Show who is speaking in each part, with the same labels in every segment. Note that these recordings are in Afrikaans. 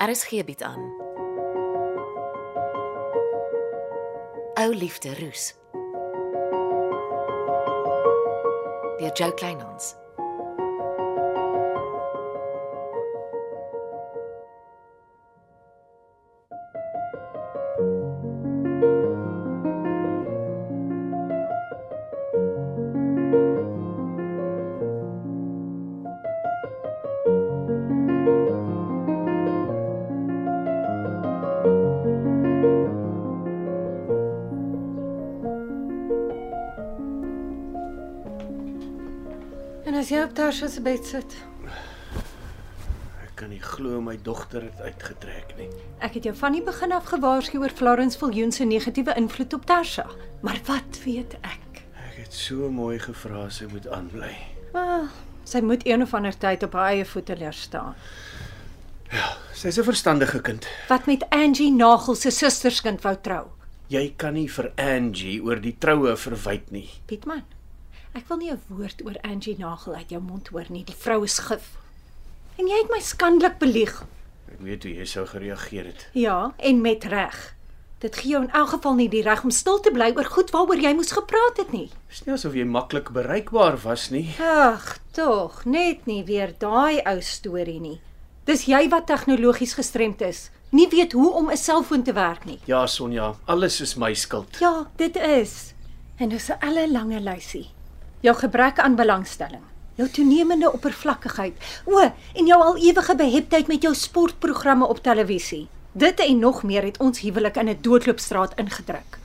Speaker 1: RSG bied Er aan. Ou liefde roes. Deur Jo Kleinhans.
Speaker 2: En as jy op Tarsha se bed sit,
Speaker 3: Ek kan nie glo my dogter het uitgetrek nie.
Speaker 2: ek het jou van die begin af gewaarsku oor Florence Viljoen se negatiewe invloed op Tarsha. Maar wat weet ek?
Speaker 3: Ek het so mooi gevra sy moet aanbly.
Speaker 2: Wel, sy moet een of ander tyd op haar eie voete leer staan.
Speaker 3: Sy's 'n verstandige kind.
Speaker 2: Wat met Angie Nagel se susterskind wou trou.
Speaker 3: Jy kan nie vir Angie oor die troue verwyd nie.
Speaker 2: Pietman. Ek wil nie 'n woord oor Angie Nagel uit jou mond hoor nie. Die vrou is gif. En jy het my skandelik belieg.
Speaker 3: Ek weet hoe jy sou gereageer het.
Speaker 2: Ja, en met reg. Dit gee jou in elk geval nie die reg om stil te bly oor goed waaroor jy moes gepraat het nie.
Speaker 3: Dis nie asof jy maklik bereikbaar was nie.
Speaker 2: Ag, tog, net nie weer daai ou storie nie. Dis jy wat tegnologies gestremd is. Nie weet hoe om 'n selfoon te werk nie.
Speaker 3: Ja, Sonja, alles is my skuld.
Speaker 2: Ja, dit is. En dis 'n ellelange lysie. Jou gebrek aan belangstelling, jou toenemende oppervlakkigheid, o, en jou al ewige beheptheid met jou sportprogramme op televisie. Dit en nog meer het ons huwelik in 'n doodloopstraat ingedruk.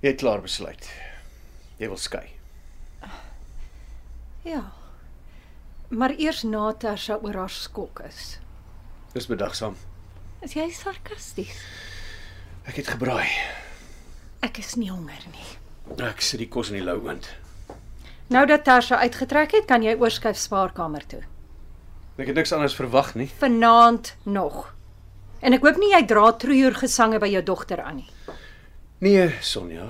Speaker 3: Jy het klaar besluit. Jy wil skei.
Speaker 2: Ja. Maar eers nadat Tasha oor haar skok is.
Speaker 3: Dis bedagsaam.
Speaker 2: Is jy sarkasties?
Speaker 3: Ek het gebraai.
Speaker 2: Ek is nie honger nie.
Speaker 3: Ek sit die kos in die lou oond.
Speaker 2: Nou dat Tarsha uitgetrek het, kan jy oorskuif spaarkamer toe.
Speaker 3: Ek het niks anders verwag nie.
Speaker 2: Vanaand nog. En ek hoop nie jy dra troeur gesange by jou dogter aan nie.
Speaker 3: Nee, Sonja.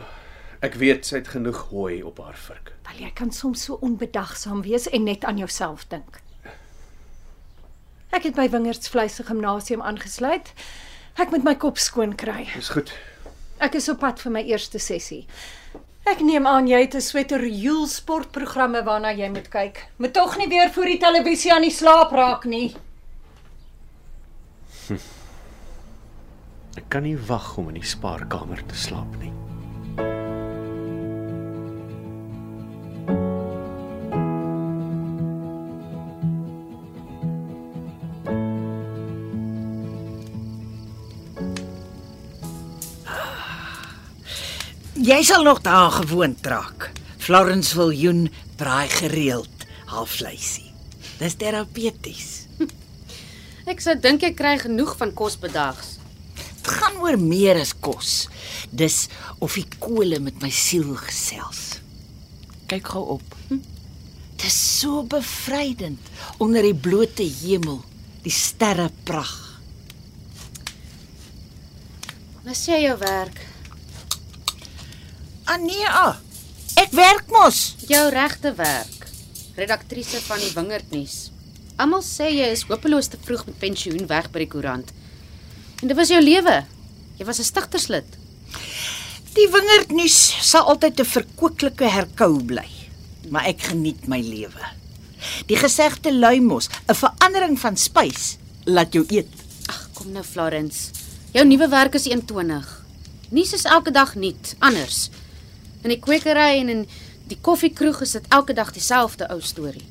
Speaker 3: Ek weet sy het genoeg hooi op haar vurk.
Speaker 2: Want jy kan soms so onbedagsaam wees en net aan jouself dink. Ek het by Wingerds vleis se gimnasium aangesluit. Ek moet my kop skoon kry.
Speaker 3: Dis goed.
Speaker 2: Ek is op pad vir my eerste sessie. Ek neem aan jy het 'n sweterjoel sportprogramme waarna jy moet kyk. Moet tog nie weer voor die televisie aan die slaap raak nie.
Speaker 3: Ek kan nie wag om in die spaarkamer te slaap nie.
Speaker 4: Jy sal nog daaraan gewoond raak. Florence Viljoen braai gereeld halfvleisie. Dis terapeuties.
Speaker 5: Ek sou dink ek kry genoeg van kos bedags.
Speaker 4: Dit gaan oor meer as kos. Dis of die kole met my siel gesels. Kyk gou op. Hm? Dis so bevrydend onder die blote hemel, die sterre pragt.
Speaker 5: Mis jy jou werk?
Speaker 4: Ania, Ah, nee, ek werk mos.
Speaker 5: Jou regte werk. Redaktrise van die Wingerd nuus. Almal sê jy is hopeloos te vroeg met pensioen weg by die koerant. En dit was jou lewe. Jy was 'n stigterslid.
Speaker 4: Die wingerdnuus sal altyd 'n verkwikkelike herkou bly, maar ek geniet my lewe. Die gesegde lui mos, 'n verandering van spys laat jou eet.
Speaker 5: Ag, kom nou Florence. Jou nuwe werk is 21. Nuus is elke dag nuut, anders. In die kwekery en in die koffiekroeg is dit elke dag dieselfde ou storie.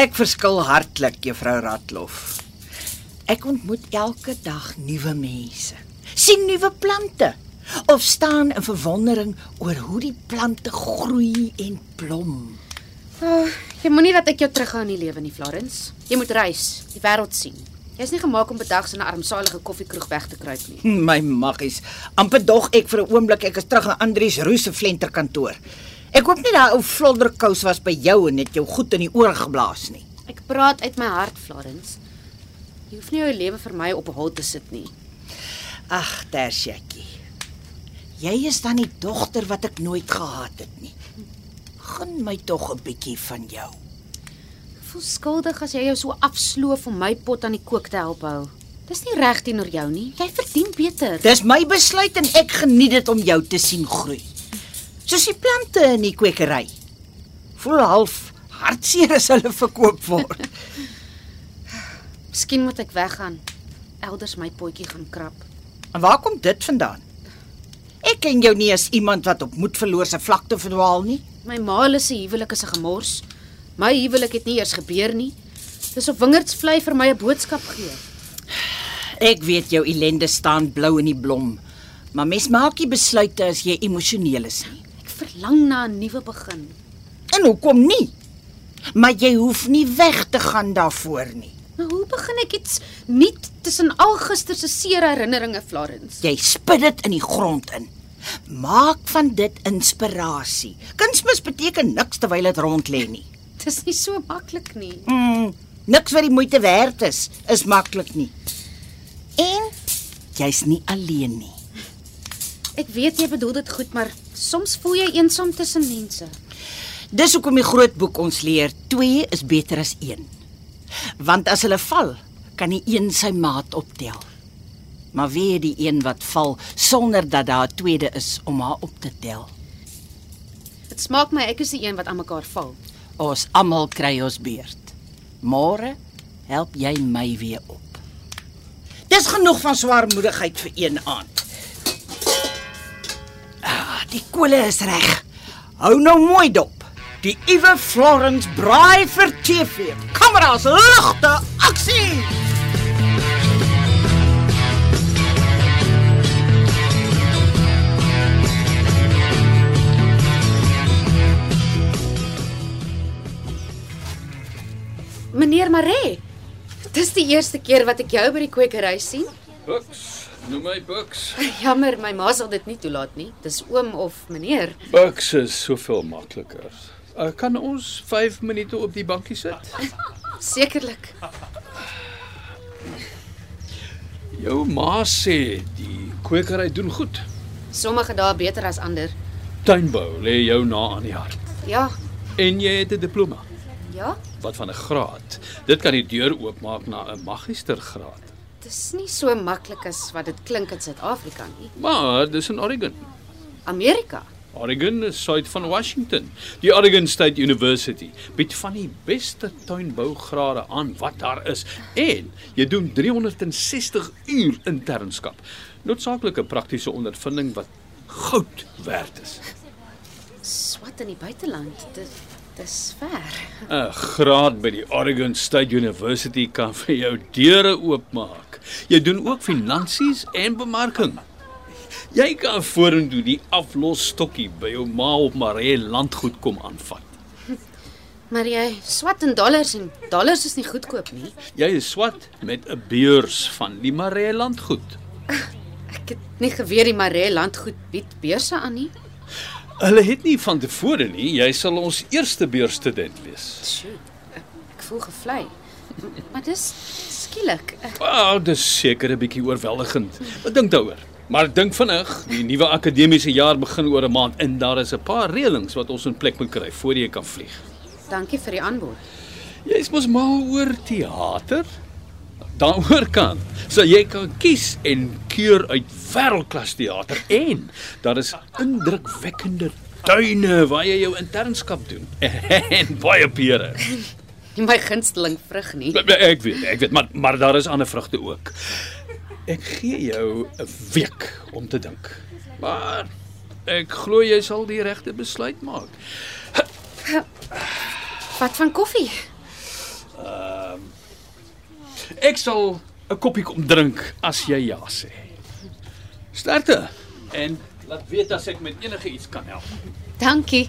Speaker 4: Ek verskil hartlik, Juffrou Ratlof. Ek ontmoet elke dag nuwe mense. sien nuwe plante of staan in verwondering oor hoe die plante groei en blom.
Speaker 5: Oh, jy moenie dat ek jou terughou in die lewe nie, Florence. Jy moet reis, die wêreld sien. Jy's nie gemaak om bedags in 'n armsalige koffiekroeg weg te kruip nie.
Speaker 4: My maggies, amper dog ek vir 'n oomblik ek is terug aan Andrius Roos se flenter kantoor. Ek hoop nie daai ou vlodderkous was by jou en net jou goed in die oor geblaas nie.
Speaker 5: Ek praat uit my hart, Florence. Jy hoef nie jou lewe vir my op hol te sit nie.
Speaker 4: Ag, Tersjatjie. Jy is dan die dogter wat ek nooit gehad het nie. Gun my tog 'n bietjie van jou.
Speaker 5: voel skuldig as jy jou so afsloof om my pot aan die kook te help hou. Dis nie reg teenoor jou nie. Jy verdien beter.
Speaker 4: Dis my besluit en ek geniet dit om jou te sien groei. Soos die plante in die kwekery. Voel half hartseer as hulle verkoop word.
Speaker 5: Miskien moet ek weggaan. Elders my potjie gaan krap.
Speaker 4: en waar kom dit vandaan? Ek ken jou nie as iemand wat op moedverloor se vlakte verdwaal nie.
Speaker 5: My ma hulle se huwelik is 'n gemors. My huwelik het nie eers gebeur nie. Dis of wingerdsvlei vir my 'n boodskap gee.
Speaker 4: Ek weet jou ellende staan blou in die blom. Maar mens maak nie besluite as jy emosioneel is nie.
Speaker 5: Ek verlang na 'n nuwe begin.
Speaker 4: En hoekom nie? Maar jy hoef nie weg te gaan daarvoor nie.
Speaker 5: Maar hoe begin ek iets nuut tussen al gister se seer herinneringe, Florence?
Speaker 4: Jy spit dit in die grond in. Maak van dit inspirasie. Kunsmis beteken niks terwyl dit rond lê nie.
Speaker 5: Dis nie so maklik nie.
Speaker 4: Mm, niks wat die moeite werd is, is maklik nie. En jy's nie alleen nie.
Speaker 5: Ek weet jy bedoel dit goed, maar soms voel jy eensaam tussen mense.
Speaker 4: Dis hoekom die groot boek ons leer, 2 is beter as 1. Want as hulle val, kan die een sy maat optel. Maar wie is die een wat val sonder dat daar 'n tweede is om haar op te tel?
Speaker 5: Dit smaak my ek is die een wat aan mekaar val.
Speaker 4: Ons almal kry ons beurt. Môre help jy my weer op. Dis genoeg van swaarmoedigheid vir een aand. Ah, die kolle is reg. Hou nou mooi dop. Die Iwe Florence braai vir TV. Kameras, ligte, aksie!
Speaker 5: Meneer Maree, dis die eerste keer wat ek jou by die kwekery sien.
Speaker 3: Buks, noem my Buks.
Speaker 5: Jammer, my ma sal dit nie toelaat nie. Dis oom of meneer.
Speaker 3: Buks is soveel makliker. Uh, kan ons 5 minute op die bankie sit?
Speaker 5: Sekerlik.
Speaker 3: Jou ma sê die kwekery doen goed.
Speaker 5: Sommige dae beter as ander.
Speaker 3: Tuinbou lê jou na aan die hart.
Speaker 5: Ja.
Speaker 3: En jy het 'n diploma.
Speaker 5: Ja.
Speaker 3: Wat van 'n graad? Dit kan die deur oopmaak na 'n magistergraad.
Speaker 5: Dis nie so maklik as wat dit klink in Suid-Afrika nie.
Speaker 3: Maar dis in Oregon.
Speaker 5: Amerika.
Speaker 3: Oregon is suid van Washington. Die Oregon State University bied van die beste tuinbougrade aan wat daar is en jy doen 360 uur internskap. Noodsaaklike praktiese ondervinding wat goud werd is.
Speaker 5: Swat in die buiteland. Dit dis ver.
Speaker 3: 'n Graad by die Oregon State University kan vir jou deure oopmaak. Jy doen ook finansies en bemarking. Jy kan vorentoe die aflosstokkie by jou ma op Maree landgoed kom aanvat.
Speaker 5: Maar jy swat in dollars en dollars is nie goedkoop nie.
Speaker 3: Jy is swat met 'n beurs van die Maree landgoed.
Speaker 5: Ek het nie geweet die Maree landgoed bied beurse aan nie.
Speaker 3: Hulle het nie van tevore nie, jy sal ons eerste beurstudent wees.
Speaker 5: Sjoe. Ek voel gevlei. Maar dis skielik. Ek-
Speaker 3: Wel, dis seker 'n bietjie oorweldigend. Wat dink daaroor? Maar dink vinnig, die nuwe akademiese jaar begin oor 'n maand en daar is 'n paar reëlings wat ons in plek moet kry voor jy kan vlieg.
Speaker 5: Dankie vir die aanbod.
Speaker 3: Jy's mos mal oor teater? Daaroor kan. So jy kan kies en keur uit wêreldklas teater en daar is indrukwekkende tuine waar jy jou internskap doen en baie pere.
Speaker 5: Nie my gunsteling vrug nie.
Speaker 3: Ek weet, ek weet, maar maar daar is ander vrugte ook. Ek gee jou 'n week om te dink. Maar ek glo jy sal die regte besluit maak.
Speaker 5: Wat van koffie?
Speaker 3: Ek sal 'n koppie kom drink as jy ja sê. Sterkte en laat weet as ek met enige iets kan help.
Speaker 5: Dankie.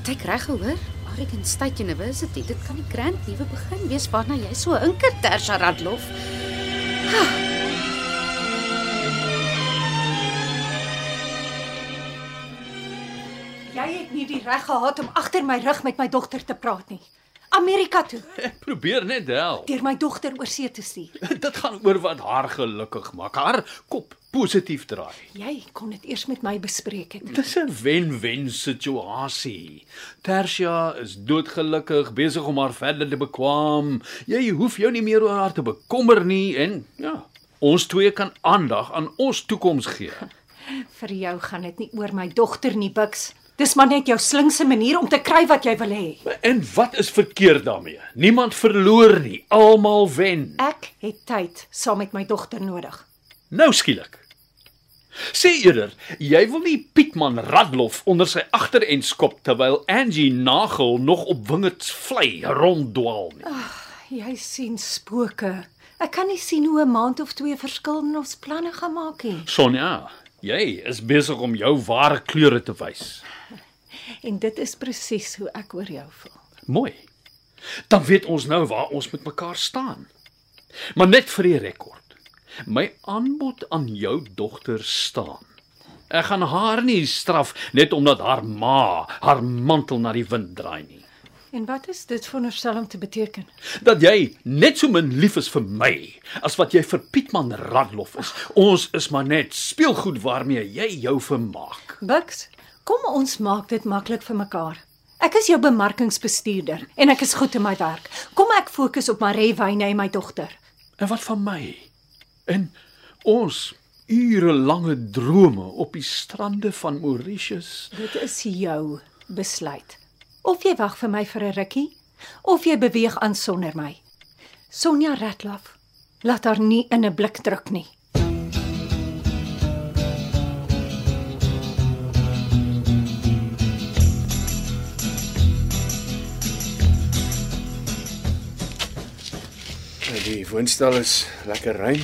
Speaker 5: Het ek reg gehoor? Oregon State University. Dit kan die grand nuwe begin wees waarna jy so inker Tersha Radloff.
Speaker 2: Jy het nie die reg gehad om agter my rug met my dogter te praat nie. Amerika toe
Speaker 3: Ek probeer net help.
Speaker 2: deur my dogter oor see te stuur.
Speaker 3: Dit gaan oor wat haar gelukkig maak. Haar kop positief draai.
Speaker 2: Jy kon dit eers met my bespreek het.
Speaker 3: Dis 'n wen-wen situasie. Tersia is doodgelukkig besig om haar verder te bekwam. Jy hoef jou nie meer oor haar te bekommer nie en ja, ons twee kan aandag aan ons toekoms gee.
Speaker 2: Vir jou gaan dit nie oor my dogter nie, Bux. Dis maar net jou slinkse manier om te kry wat jy wil hê.
Speaker 3: En wat is verkeerd daarmee? Niemand verloor nie, almal wen.
Speaker 2: Ek het tyd saam met my dogter nodig.
Speaker 3: Nou skielik. Sê eerder, jy wil nie Pietman Radloff onder sy agterend skop terwyl Angie Nagel nog op wingerd vlei ronddwaal nie.
Speaker 2: Jy sien spooke. Ek kan nie sien hoe 'n maand of twee verskil in ons planne gemaak het.
Speaker 3: Sonja, jy is besig om jou ware kleure te wys.
Speaker 2: En dit is presies hoe ek oor jou voel.
Speaker 3: Mooi. Dan weet ons nou waar ons met mekaar staan. Maar net vir die rekord. My aanbod aan jou dogter staan. Ek gaan haar nie straf net omdat haar ma haar mantel na die wind draai nie.
Speaker 2: En wat is dit veronderstel om te beteken?
Speaker 3: dat jy net so min lief is vir my as wat jy vir Pietman Radloff is. Ons is maar net speelgoed waarmee jy jou vermaak.
Speaker 2: Bux, kom ons maak dit maklik vir mekaar. Ek is jou bemarkingsbestuurder en ek is goed in my werk. Kom ek fokus op Maree Wyne en my dogter.
Speaker 3: En wat van my? En ons urelange drome op die strande van Mauritius.
Speaker 2: Dit is jou besluit. Of jy wag vir my vir 'n rukkie of jy beweeg aan sonder my. Sonja Ratloff, laat haar nie in 'n blik druk nie.
Speaker 6: Ja, Die woonstel is lekker ruim.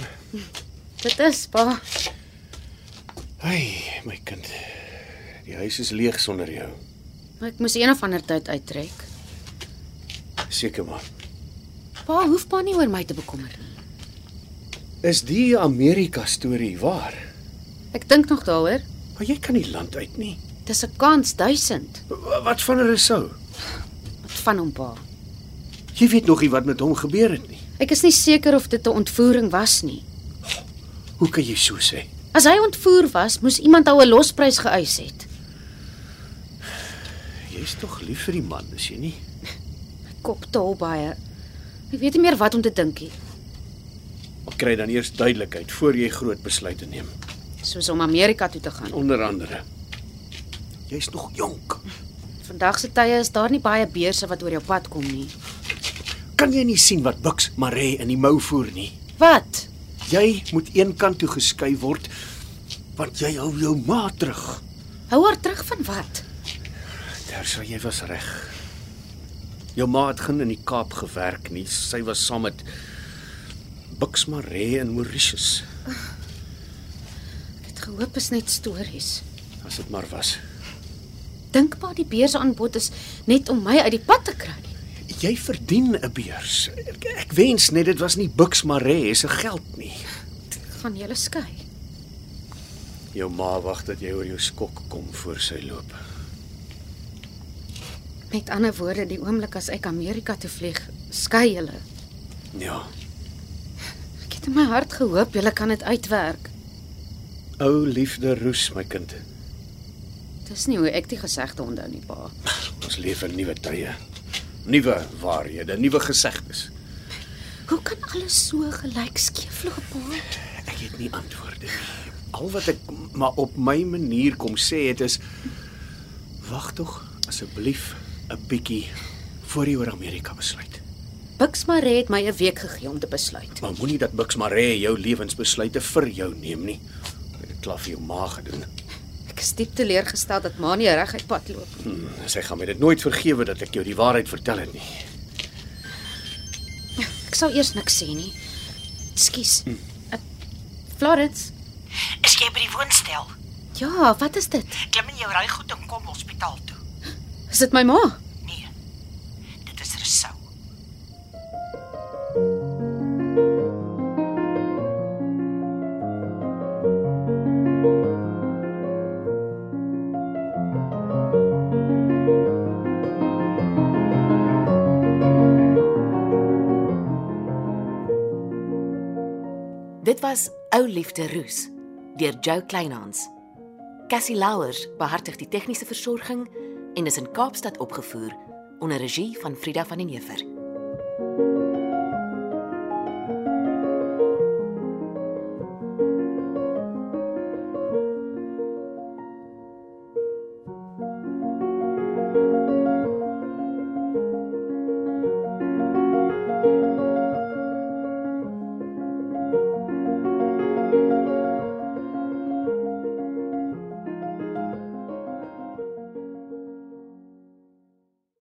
Speaker 5: Dit is pa.
Speaker 6: Hey, my kind. Die huis is leeg sonder jou.
Speaker 5: Maar ek moes een of ander tyd uittrek.
Speaker 6: Seker maar.
Speaker 5: Pa hoef pa nie oor my te bekommer nie.
Speaker 6: Is die Amerika storie waar?
Speaker 5: Ek dink nog daaroor.
Speaker 6: Maar jy kan nie land uit nie.
Speaker 5: Dis 'n kans 1000
Speaker 6: Wa- Wat van Rousseau?
Speaker 5: wat van hom pa.
Speaker 6: Jy weet nog nie wat met hom gebeur het nie.
Speaker 5: Ek is nie seker of dit 'n ontvoering was nie.
Speaker 6: Hoe kan jy so sê?
Speaker 5: As hy ontvoer was, moes iemand ou 'n losprys geëis het.
Speaker 6: Jy's tog lief vir die man, is jy nie?
Speaker 5: My kop tol baie. Ek weet nie meer wat om te dink nie,
Speaker 6: Maar kry dan eers duidelikheid voor jy groot besluite neem.
Speaker 5: soos om Amerika toe te gaan.
Speaker 6: Onder andere. Jy's nog jonk.
Speaker 5: Vandag se tye is daar nie baie beurse wat oor jou pad kom nie.
Speaker 6: Kan jy nie sien wat Bux Maree in die mou voer nie?
Speaker 5: Wat?
Speaker 6: Jy moet een kant toe geskuif word want jy hou jou ma terug.
Speaker 5: Hou haar terug van wat?
Speaker 6: Tersa, jy was reg. Jou ma het geen in die Kaap gewerk nie. Sy was saam met Bux Maree in Mauritius,
Speaker 5: Ek het gehoop is net stories.
Speaker 6: as dit maar was.
Speaker 5: Dink maar die beurse aanbod is net om my uit die pad te kry.
Speaker 6: Jy verdien 'n beurs. Ek, ek wens net dit was nie Bux Maree se geld nie.
Speaker 5: Gaan julle skei.
Speaker 6: Jou ma wag dat jy oor jou skok kom voor sy loop.
Speaker 5: Met ander woorde, die oomblik as ek Amerika toe vlieg, skei julle.
Speaker 6: Ja.
Speaker 5: Ek het in my hart gehoop julle kan dit uitwerk.
Speaker 6: Ou liefde roes my kind.
Speaker 5: Dis nie hoe ek die gesegde onthou nie, pa.
Speaker 6: Ons leef in nuwe tye. Nuwe waarhede, nuwe gesegdes.
Speaker 5: Hoe kan alles so gelyk skeefloop, pa?
Speaker 6: Ek het nie antwoorde nie. Al wat ek maar op my manier kom sê het is wag tog asseblief 'n bietjie voor jy oor Amerika besluit.
Speaker 5: Bux Maree het my 'n week gegee om te besluit.
Speaker 6: Maar moenie dat Bux Maree jou lewensbesluite vir jou neem nie. Hy het Dit klaf vir jou ma gedoen.
Speaker 5: Ek is diep teleurgestel dat ma nie reguit pad loop nie.
Speaker 6: Hmm, sy gaan my dit nooit vergewe dat ek jou die waarheid vertel het nie.
Speaker 5: Ek sou eers niks sê nie. Ekskuus. Hm. Ek Florence.
Speaker 4: Is jy by die woonstel?
Speaker 5: Ja, wat is dit?
Speaker 4: Klim in jou ry goed en kom hospitaal toe.
Speaker 5: Is dit my ma?
Speaker 4: Nee. Dit is Rousseau.
Speaker 1: Dit was Ou Liefde Roos deur Jo Kleinhans. Cassie Louwers behartig die tegniese versorging en is in Kaapstad opgevoer onder regie van Frida van den Heever.